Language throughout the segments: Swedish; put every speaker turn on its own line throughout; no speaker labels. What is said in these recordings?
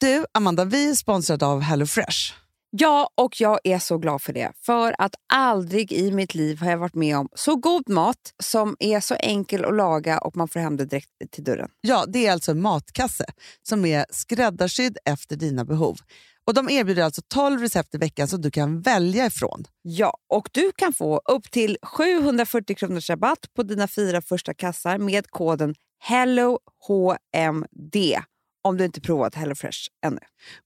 Du, Amanda, vi är sponsrade av HelloFresh.
Ja, och jag är så glad för det. För att aldrig i mitt liv har jag varit med om så god mat som är så enkel att laga och man får hem det direkt till dörren.
Ja, det är alltså en matkasse som är skräddarsydd efter dina behov. Och De erbjuder alltså 12 recept i veckan som du kan välja ifrån.
Ja, och du kan få upp till 740 kronors rabatt på dina fyra första kassar med koden E HELLOHMD om du inte provat HelloFresh ännu.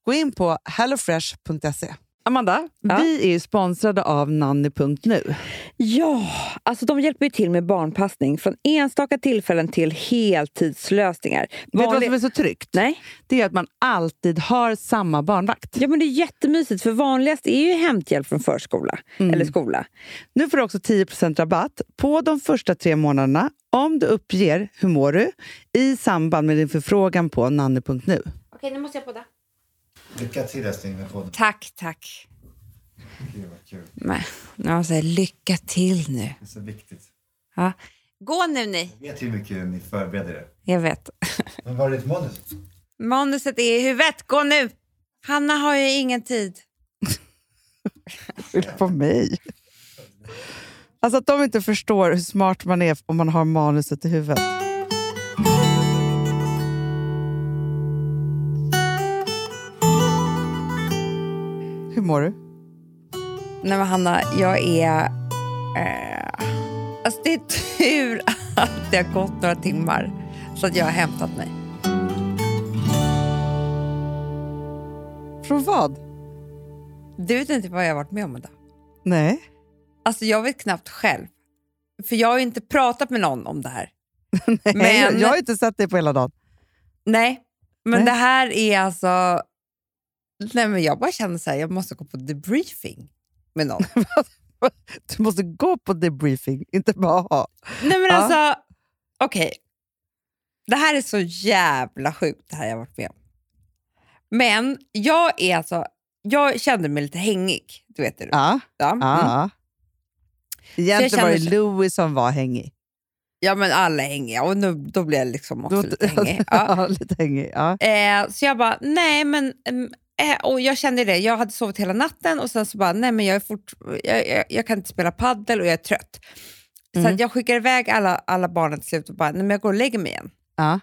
Gå in på hellofresh.se. Amanda,
Ja.
vi är ju sponsrade av nanny.nu.
Ja, alltså de hjälper ju till med barnpassning från enstaka tillfällen till heltidslösningar.
Vet du vad
Vanlig-
som är så tryggt?
Nej.
Det är att man alltid har samma barnvakt.
Ja, men det är jättemysigt, för vanligast är ju hämthjälp från förskola
Mm.
eller skola.
Nu får du också 10 rabatt på de första tre månaderna om du uppger hur mår du i samband med din förfrågan på nanny.nu.
Okej, nu måste jag podda.
Lycka till älskling med podden.
Tack, tack.
Gud vad kul.
Men, jag säger, lycka till nu.
Det är så viktigt.
Ja. Gå nu ni.
Jag vet hur mycket ni förbereder er.
Jag vet.
Men var är ditt manus?
Manuset är i huvudet. Gå nu. Hanna har ju ingen tid.
Skyll på mig. Alltså att de inte förstår hur smart man är om man har manuset i huvudet. Hur mår du?
Nej, men Hanna, jag är... Eh, alltså det är tur att det har gått några timmar så att jag har hämtat mig.
Från vad?
Du vet inte vad jag har varit med om idag.
Nej.
Alltså jag vet knappt själv. För jag har ju inte pratat med någon om det här.
Men...
Men-
Jag har inte sett dig på hela dagen.
Nej, men
Nej.
det här är alltså... Nej, men jag bara känner så här, jag måste gå på debriefing med någon.
Du måste gå på debriefing, inte bara ha.
Nej men
Ja.
alltså, okej. Det här är så jävla sjukt det här jag har varit med om. Men jag är alltså, jag kände mig lite hängig, du vet det.
Ja,
Ja. Mm.
ja. Egentligen var det
känner-
Louis som var hängig.
ja men alla är hängiga och nu, då blir jag liksom också
Då-
lite hängig. Ja.
ja, lite hängig. Ja.
Eh, så jag bara, nej men, mm, eh, och jag kände det, jag hade sovit hela natten och sen så bara, nej men jag, är fort, jag, jag, jag kan inte spela paddel och jag är trött. Så
Mm.
att jag skickar iväg alla, alla barnen till slut och bara, nej men jag går och lägger mig igen.
Ja.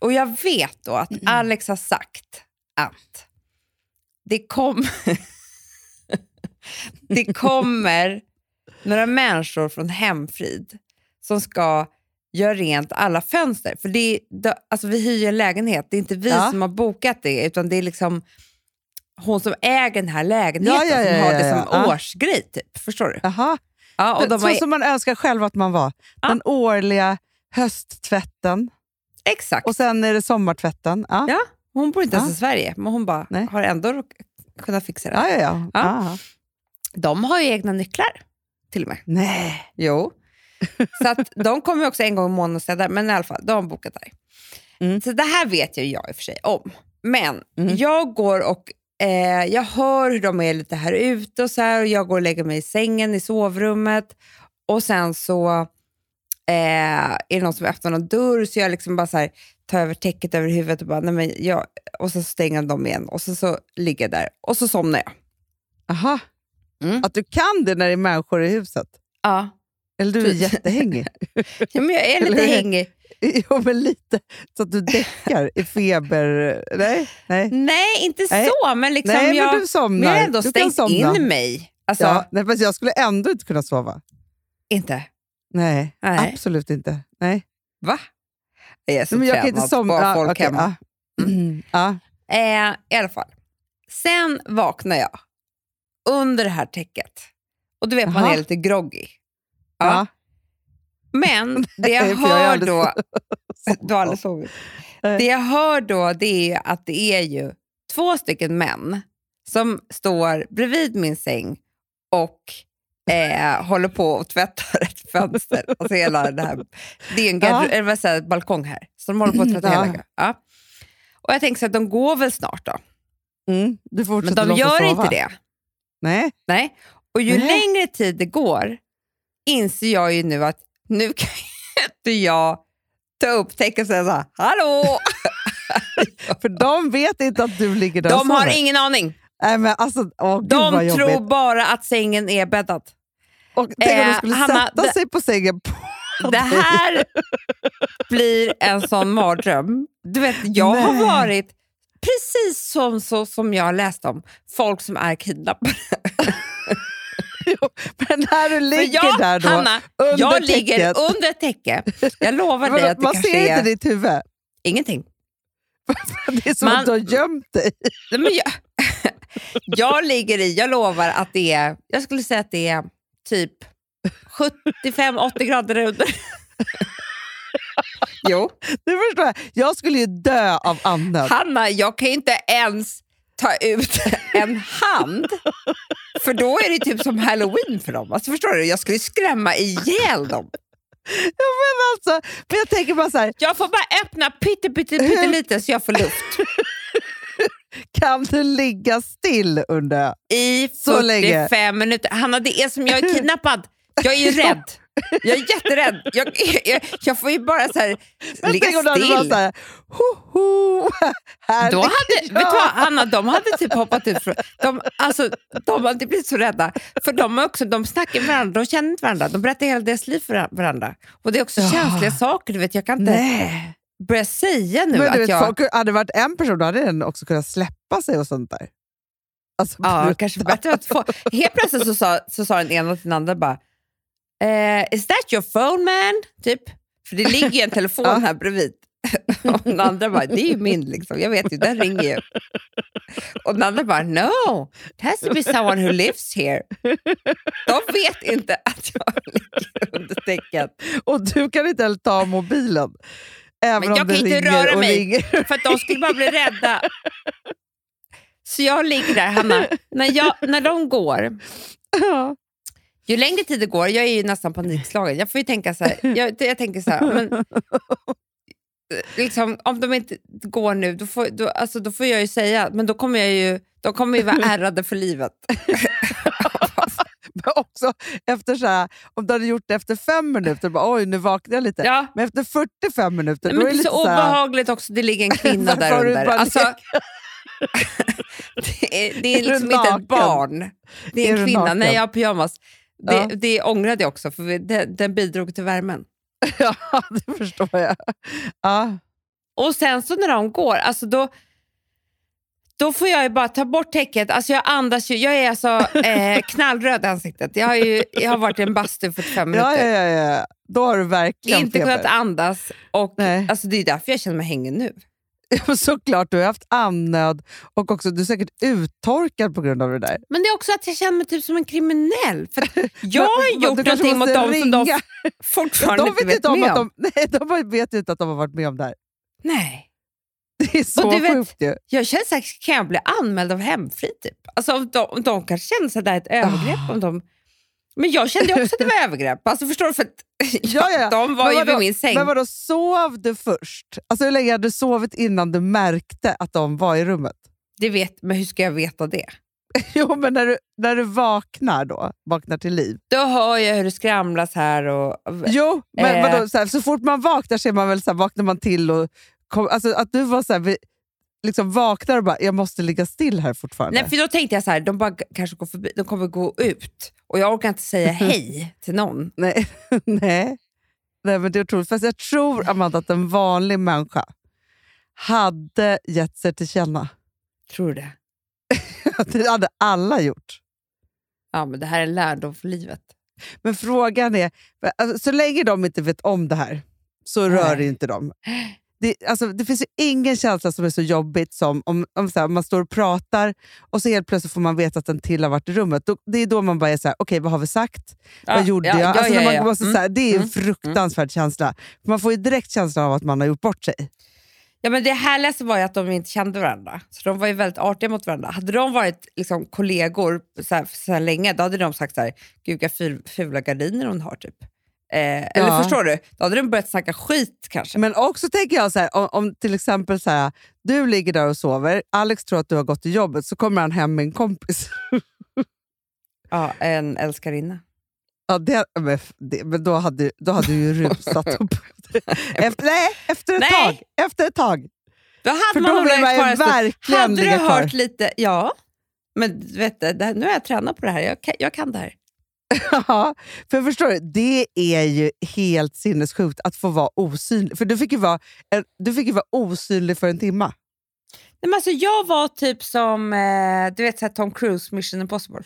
Och jag vet då att Alex har sagt att det kommer, det kommer några människor från Hemfrid som ska göra rent alla fönster. För det är, det- alltså vi hyr ju en lägenhet, det är inte vi
Ja.
som har bokat det, utan det är liksom hon som äger den här lägenheten
Ja, ja, ja,
som har
ja,
det
ja.
som
Ja.
årsgrej. Typ. Förstår du?
Jaha.
Ja, och de
så
har,
som man önskar själv att man var.
Ja.
Den årliga hösttvätten
exakt.
och sen är det sommartvätten. Ja,
Ja. Hon bor inte ens
Ja.
i Sverige, men hon bara
Nej.
har ändå råk- kunnat fixa det.
ja, ja. ja.
Ja.
Aha.
De har ju egna nycklar till och med.
Nej.
Jo. Så att de kommer ju också en gång i månaden och städar, men i alla fall, de har bokat där.
Mm.
Så det här vet ju jag i och för sig om. Men
Mm.
jag går och eh, jag hör hur de är lite här ute och så här och jag går och lägger mig i sängen i sovrummet och sen så eh, är det någon som öppnar någon dörr så jag liksom bara så här, tar över täcket över huvudet och bara, nej men jag, och så stänger de igen och så, så ligger jag där och så somnar jag.
Aha.
Mm.
Att du kan det när det är människor i huset.
Ja.
Eller du är
Typ.
jättehängig.
ja men jag är
Eller
lite
hur?
hängig.
jo, men lite. Så att du däckar i feber... Nej, nej.
Nej, inte
Nej.
så, men liksom
nej
jag,
men du somnar.
men jag har ändå
du
stängt in mig. Alltså,
Ja, nej, fast jag skulle ändå inte kunna sova.
inte.
Nej,
Nej.
absolut inte. Nej.
Va? Jag är så
Men jag kan inte
tränad
somna.
på
Ja,
folk
okej, ah. Mm.
hemma.
ja. Ja.
Eh, I alla fall. Sen vaknar jag under det här täcket. Och du vet, man
Jaha.
är lite groggy. Ja.
Ja.
Men det jag
Nej, för jag har
hör
aldrig
då...
somnat.
Du har aldrig sovit.
Nej.
Det jag hör då det är ju att det är ju två stycken män som står bredvid min säng och eh, håller på och tvättar ett fönster. Alltså hela det, här. det är en
Ja.
gardero- eller vad säger, jag, balkong här, så de håller på att tvätta
Ja.
hela hela ja. Och jag tänker så att de går väl snart då,
Mm. Du
men
fortsätter
de
låtsas
gör
sova.
inte det.
Nej.
Nej. Och ju
Nej.
längre tid det går inser jag ju nu att nu kan ju inte jag ta upp täcket och säga så här, hallå!
För de vet inte att du ligger där och
De har
sover.
ingen aning.
Nej, men alltså, åh, gud vad
De
jobbigt.
tror bara att sängen är bäddad.
Och tänk om de
Eh,
skulle
Hanna,
sätta
det-
sig på sängen. På
Det här blir en sån mardröm. Du vet, jag
Nej.
har varit precis som, så, som jag har läst om, folk som är kidnappade.
men när du
För
ligger
jag,
där då.
Hanna,
under
jag ligger
täcket.
under ett täcke. Jag lovar dig
Vadå,
att det
man
kanske
ser
är
inte ditt huvud.
ingenting.
Det är som
Man-
att du har gömt dig.
Nej, men jag, jag ligger i, jag lovar att det är, jag skulle säga att det är typ 75-80 grader där under. Jo.
Du förstår, jag. jag skulle ju dö av andnöd.
Hanna, jag kan ju inte ens ta ut en hand. För då är det typ som halloween för dem. Alltså, förstår du? Jag skulle ju skrämma ihjäl dem.
Alltså, men jag tänker bara så här,
Jag får bara öppna pytte, pytte, pyttelite så jag får luft.
kan du ligga still undrar jag?
I
Så länge.
45 minuter. Hanna, det är som jag är kidnappad. Jag är ju rädd. Jag är jätterädd. Jag, jag, jag får ju bara så här,
Men
ligga
tänk om du hade varit
still.
så här, ho, ho, här
Då
ligger
hade, vet du
jag.
vad, Anna, de hade typ hoppat ut. Från, de, alltså, de hade blivit så rädda. För de, har också, de snackar med varandra, de känner inte varandra. De berättar hela deras liv för var- varandra. Och det är också
Ja.
känsliga saker. Du vet, jag kan inte
Nej.
börja säga nu
Men
att
du vet,
jag...
folk, hade det varit en person då hade den också kunnat släppa sig och sånt där. Alltså,
ja,
brut-
kanske bättre att få, helt plötsligt så sa, så sa den ena till den andra bara, eh, “Is that your phone man?” typ. För det ligger ju en
Ja.
telefon här bredvid. Och den andra bara, det är ju min, liksom. jag vet ju, den ringer ju. Och den andra bara, no, it has to be someone who lives here. De vet inte att jag ligger under täcket.
Och du kan inte heller ta mobilen. Även
Men
om
jag
det
kan inte
ringer
röra
och
mig.
ringer.
För att de skulle bara bli rädda. Så jag ligger där, Hanna. När, jag, när de går,
Ja.
Ju längre tid det går, jag är ju nästan panikslagen. Jag får ju tänka så här, jag, jag tänker så här, men, eh, liksom, om de inte går nu, då får, då, alltså, då får jag ju säga, men då kommer jag ju, de kommer ju vara ärrade för livet.
Men också efter så här, om du hade gjort det efter fem minuter, bara, oj nu vaknade jag lite.
Ja.
Men efter 45 minuter,
Nej,
då
men
är
det
det
är
lite
så
så här,
obehagligt också, det ligger en kvinna
Varför
där
har du
under.
bara
Alltså, det är, det
Är
är
du
liksom inte
naken?
ett barn, det
Är
är
du
en kvinna.
naken?
Nej, jag har pyjamas. Det,
Ja.
det ångrade jag också, för det, den bidrog till värmen.
ja det förstår jag. Ja.
Och sen så när de går, alltså då, då får jag ju bara ta bort täcket. Alltså jag andas ju, jag är alltså eh, knallröd i ansiktet. Jag har, ju, jag har varit i en bastu i 45 minuter.
Ja, ja, ja, ja, då har du verkligen
Inte
feber.
kunnat andas. Och,
Nej.
alltså det är därför jag känner mig hängig nu.
Ja, Såklart, du har haft andnöd och också, du är säkert uttorkad på grund av det där.
Men det är också att jag känner mig typ som en kriminell. För att jag har
Men- men
gjort
du kanske
någonting mot
måste
dem som de
ringa.
fortfarande
de
inte
vet
vet
inte om
med
att
om.
de, nej, de vet ju inte att de har varit med om det här.
Nej.
Det är så
Och du vet-
sjukt ju.
Jag känner så här, kan jag bli anmäld av hemfrid? Typ? Alltså, om de, om de kan känna sig där ett
Ah.
övergrepp. Om de, men jag kände ju också att det var övergrepp. Alltså, förstår du? För att,
Ja, ja, ja.
De var
Men
ju
vadå-
vid min säng.
Men vadå, sov du först? Alltså hur länge hade du sovit innan du märkte att de var i rummet?
Det vet, men hur ska jag veta det?
Jo, men när du, när du vaknar då, vaknar till liv.
Då hör jag hur det skramlas här. Och,
Jo, men
Eh.
vadå, så, här, så fort man vaknar så är man väl så här, vaknar man till och kom, alltså, att du var så här, vi, liksom vaknar och bara, jag måste ligga still här fortfarande.
nej, för då tänkte jag så här, de bara g- kanske går förbi, de kommer gå ut. Och jag orkar inte säga hej till någon.
nej. nej. nej, men det är otroligt. Fast jag tror, Amanda, att en vanlig människa hade gett sig till känna.
Tror du det?
Det hade alla gjort.
Ja, men det här är en lärdom för livet.
Men frågan är, alltså, så länge de inte vet om det här så rör det ju inte dem. Det, alltså, det finns ju ingen känsla som är så jobbigt som om, om så här, man står och pratar och så helt plötsligt får man veta att en till har varit i rummet. Då, det är då man bara är så här, okej vad har vi sagt?
Ja,
vad gjorde
ja,
jag?
ja,
Alltså,
ja,
när man
ja.
Måste,
Mm.
så här, det är en
mm,
fruktansvärd känsla. Man får ju direkt känslan av att man har gjort bort sig.
Ja, men det härligaste var ju att de inte kände varandra. Så de var ju väldigt artiga mot varandra. Hade de varit liksom, kollegor så här, så här länge, då hade de sagt så här, gud vilka ful- fula gardiner hon har typ. Eh, Eller förstår du? Då hade de börjat snacka skit kanske.
Men också tänker jag så här, om, om till exempel så här, du ligger där och sover, Alex tror att du har gått till jobbet, så kommer han hem med en kompis.
Ja, en älskarinna.
Ja, det, men, f- det, men då hade, då hade du ju rusat upp. efter, nej, efter ett
Nej.
tag. Efter ett tag.
Då hade
För
man
då blir man ju
bolagsparande.
verkligen
Hade du
ligga kvar.
hört lite, ja. Men du vet du, det här, nu har jag tränat på det här, jag kan, jag kan det här.
Ja, för förstår du, det är ju helt sinnessjukt att få vara osynlig. För du fick ju vara, en- du fick ju vara osynlig för en timme.
Nej, men alltså, jag var typ som eh, du vet, så här Tom Cruise, Mission Impossible.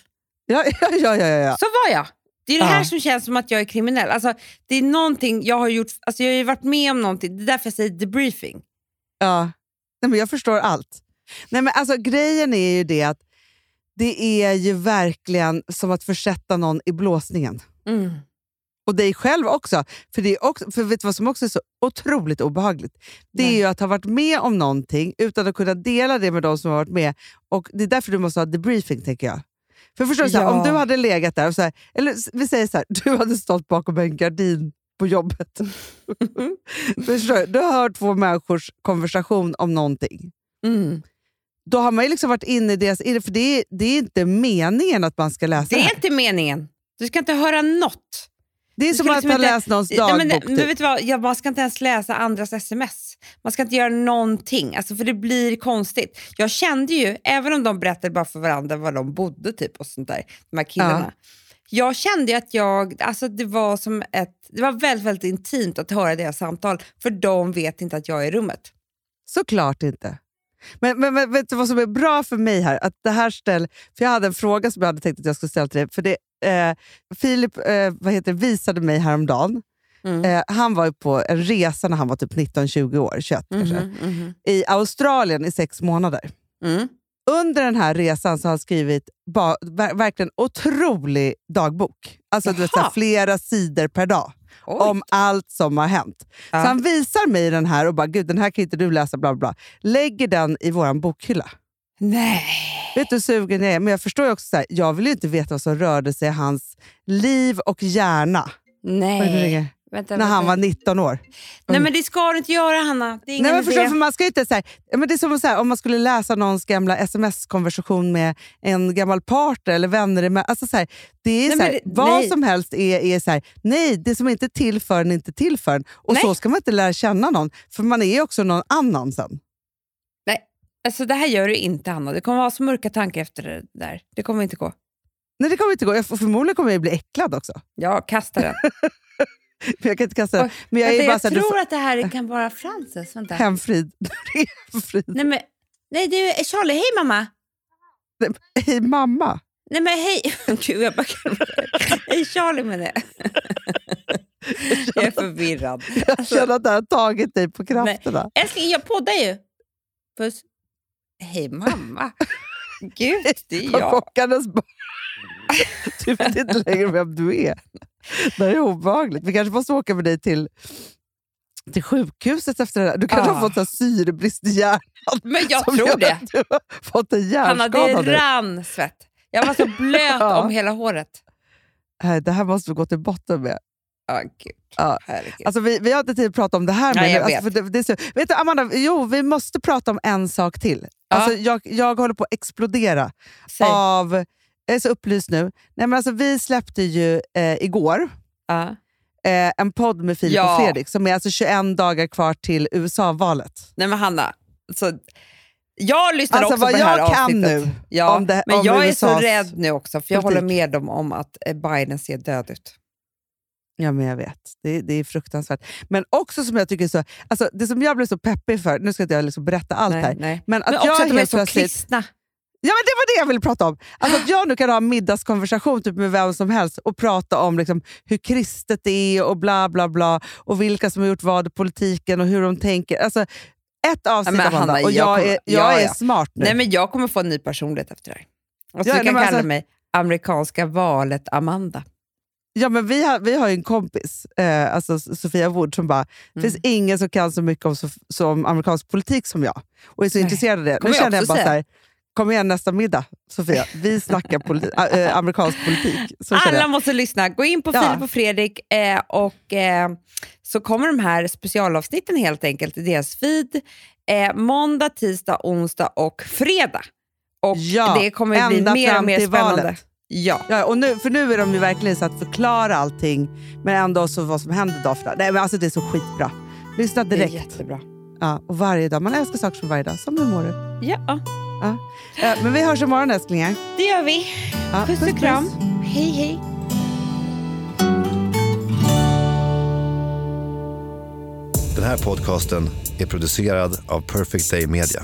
Ja, ja, ja, ja, ja.
Så var jag. Det är det här
Ja.
som känns som att jag är kriminell. Alltså, det är någonting jag har gjort, alltså, jag har ju varit med om någonting, det är därför jag säger debriefing.
ja. Nej, men jag förstår allt. Nej, men alltså, grejen är ju det att det är ju verkligen som att försätta någon i blåsningen.
Mm.
Och dig själv också. För, det är också, för vet du vad som också är så otroligt obehagligt? Det
Nej.
är ju att ha varit med om någonting utan att kunna dela det med de som har varit med. Och Det är därför du måste ha debriefing, tänker jag. För förstår du, så här,
Ja.
om du hade legat där, och så här, eller s- vi säger så här, du hade stått bakom en gardin på jobbet. förstår du? du hör två människors konversation om någonting.
Mm.
Då har man ju liksom varit inne i deras... För det är, det är inte meningen att man ska läsa det.
Det är
här.
inte meningen. Du ska inte höra något.
Det är
du
som
ska
att
liksom
ha
inte-
läst någons
Nej,
dagbok.
men, men
typ.
vet du vad? Ja, man ska inte ens läsa andras sms. Man ska inte göra någonting, alltså, för det blir konstigt. Jag kände ju, även om de berättade bara för varandra var de bodde typ och sånt där, de här killarna. Jag kände ju att jag, alltså det var som ett, det var väldigt, väldigt intimt att höra deras samtal, för de vet inte att jag är i rummet.
Såklart inte. Men, men, men vet du vad som är bra för mig här? Att det här ställ, för Jag hade en fråga som jag hade tänkt att jag skulle ställa till dig. För det, eh, Filip eh, vad heter, det, visade mig häromdagen.
Mm.
Eh, han var ju på en resa när han var typ 19-20 år, 21
Mhm.
kanske, i Australien i sex månader.
Mm.
Under den här resan så har han skrivit ba, ver, verkligen otrolig dagbok. Alltså du vet, så här,
Jaha.
flera sidor per dag
Oj.
om allt som har hänt.
Ja.
Så han visar mig den här och bara, gud den här kan inte du läsa, bla bla. bla. Lägger den i vår bokhylla.
Nej.
Vet du hur sugen jag är? Men jag förstår ju också, så här, jag vill ju inte veta vad som rörde sig i hans liv och hjärna Oj, nu
Nej.
ringer
Vänta,
det. när han
vänta.
var 19 år.
Nej men det ska du inte göra Hanna. Det är ingen
Nej, men förstår, du,
idé.
för man ska ju inte, så här, ja, men det är som så här, om man skulle läsa någons gamla sms-konversation med en gammal partner eller vänner. Med, alltså så här, det är
Nej,
så här,
men det-
vad
nej.
som helst är, är så här, nej, det som inte är till för en är inte till för en. Och
Nej.
så ska man inte lära känna någon, för man är ju också någon annan sen.
Alltså det här gör du inte Hanna. Det kommer vara så mörka tankar efter det där. Det kommer inte gå.
Nej, det kommer inte gå. Jag, får- förmodligen kommer jag bli äcklad också.
Jag kastar den.
För jag kan inte kasta den.
Oj,
Men jag
Vänta,
är bara
jag
så här, du
tror att det här kan vara Frances.
får-
Vänta.
hemfrid. Det är hemfrid.
Nej, men, nej det är Charlie. Hej mamma!
Hej mamma.
Nej men hej! Gud, jag bara... hej Charlie menar jag. jag är förvirrad.
Jag känner att det här har tagit dig på krafterna.
Älskling, jag poddar ju. Puss. Hej mamma. Gud, det är
Jag
jag.
chockades bara. Du vet inte längre vem du är. Det här är obehagligt. Vi kanske måste åka med dig till, till sjukhuset efter det här. Du kanske
Ah.
har fått så här syrebrist i hjärnan.
Men jag
som gör
tror det.
att Du har fått en
Hanna,
hjärnskada
det
nu.
rann svett. Jag var så blöt
Ja.
om hela håret.
Nej, Det här måste vi gå till botten med.
Ja, gud.
Ja.
Herregud.
Alltså, vi, vi har inte tid att prata om det här.
Nej,
men
jag
alltså,
vet.
för det, det är så, vet du, Amanda, jo, vi måste prata om en sak till.
Ja.
Alltså, jag, jag håller på att explodera
Säg.
av... Jag är så upplyst nu. Nej, men alltså, vi släppte ju eh, igår
Ja.
eh, en podd med Filip
Ja.
och Fredrik som är alltså 21 dagar kvar till USA-valet.
Nej men Hanna, alltså, jag lyssnar
Alltså,
också
vad
på det här
jag kan
avsnittet.
nu
ja,
om det-
men
om
jag är så
USAs
rädd nu också, för jag
politik.
håller med dem om att eh, Biden ser död ut.
Ja, men jag vet. Det, det är fruktansvärt. Men också som jag tycker så... Alltså, det som jag blev så peppig för, nu ska inte jag liksom berätta allt
nej,
här,
nej.
men att
Men
jag
också att de är
helt
så
plötsligt...
kristna.
Ja, men det var det jag ville prata om. Alltså att jag nu kan ha en middagskonversation typ med vem som helst och prata om liksom, hur kristet det är och bla bla bla och vilka som har gjort vad i politiken och hur de tänker. Alltså, ett avsnitt
men
av Hanna,
Hanna,
och
jag
jag,
kommer-
är, jag
ja,
är
ja.
smart nu.
Nej, men jag kommer få en ny personlighet efter det här. Och så
Ja,
du
nej,
kan
men
kalla
alltså-
mig amerikanska valet Amanda.
Ja, men vi, har, vi har ju en kompis, eh, alltså Sofia Wood, som bara, det finns
Mm.
ingen som kan så mycket om, Sof- som amerikansk politik som jag och är så
Nej.
intresserad av det.
Kommer jag
känner
också säga.
så här, kom igen nästa middag Sofia, vi snackar poli- äh, amerikansk politik. Så känner
Alla
jag.
måste lyssna. Gå in på
Ja.
Filip och Fredrik eh, och eh, så kommer de här specialavsnitten helt enkelt i deras feed eh, måndag, tisdag, onsdag och fredag. Och
Ja,
det kommer bli
ända
mer och
fram
mer
till
spännande.
valet.
Ja.
Ja, och nu, för nu är de ju verkligen så att förklara allting, men ändå så vad som händer dag för dag. Nej, men alltså det är så skitbra. Lyssna
Det är
direkt.
jättebra.
Ja, och varje dag. Man älskar saker som varje dag. Som hur mår du?
Ja,
Eh, Men vi hörs imorgon älsklingar.
det gör vi.
Ja,
Puss och kram. Hej, hej.
Den här podcasten är producerad av Perfect Day Media.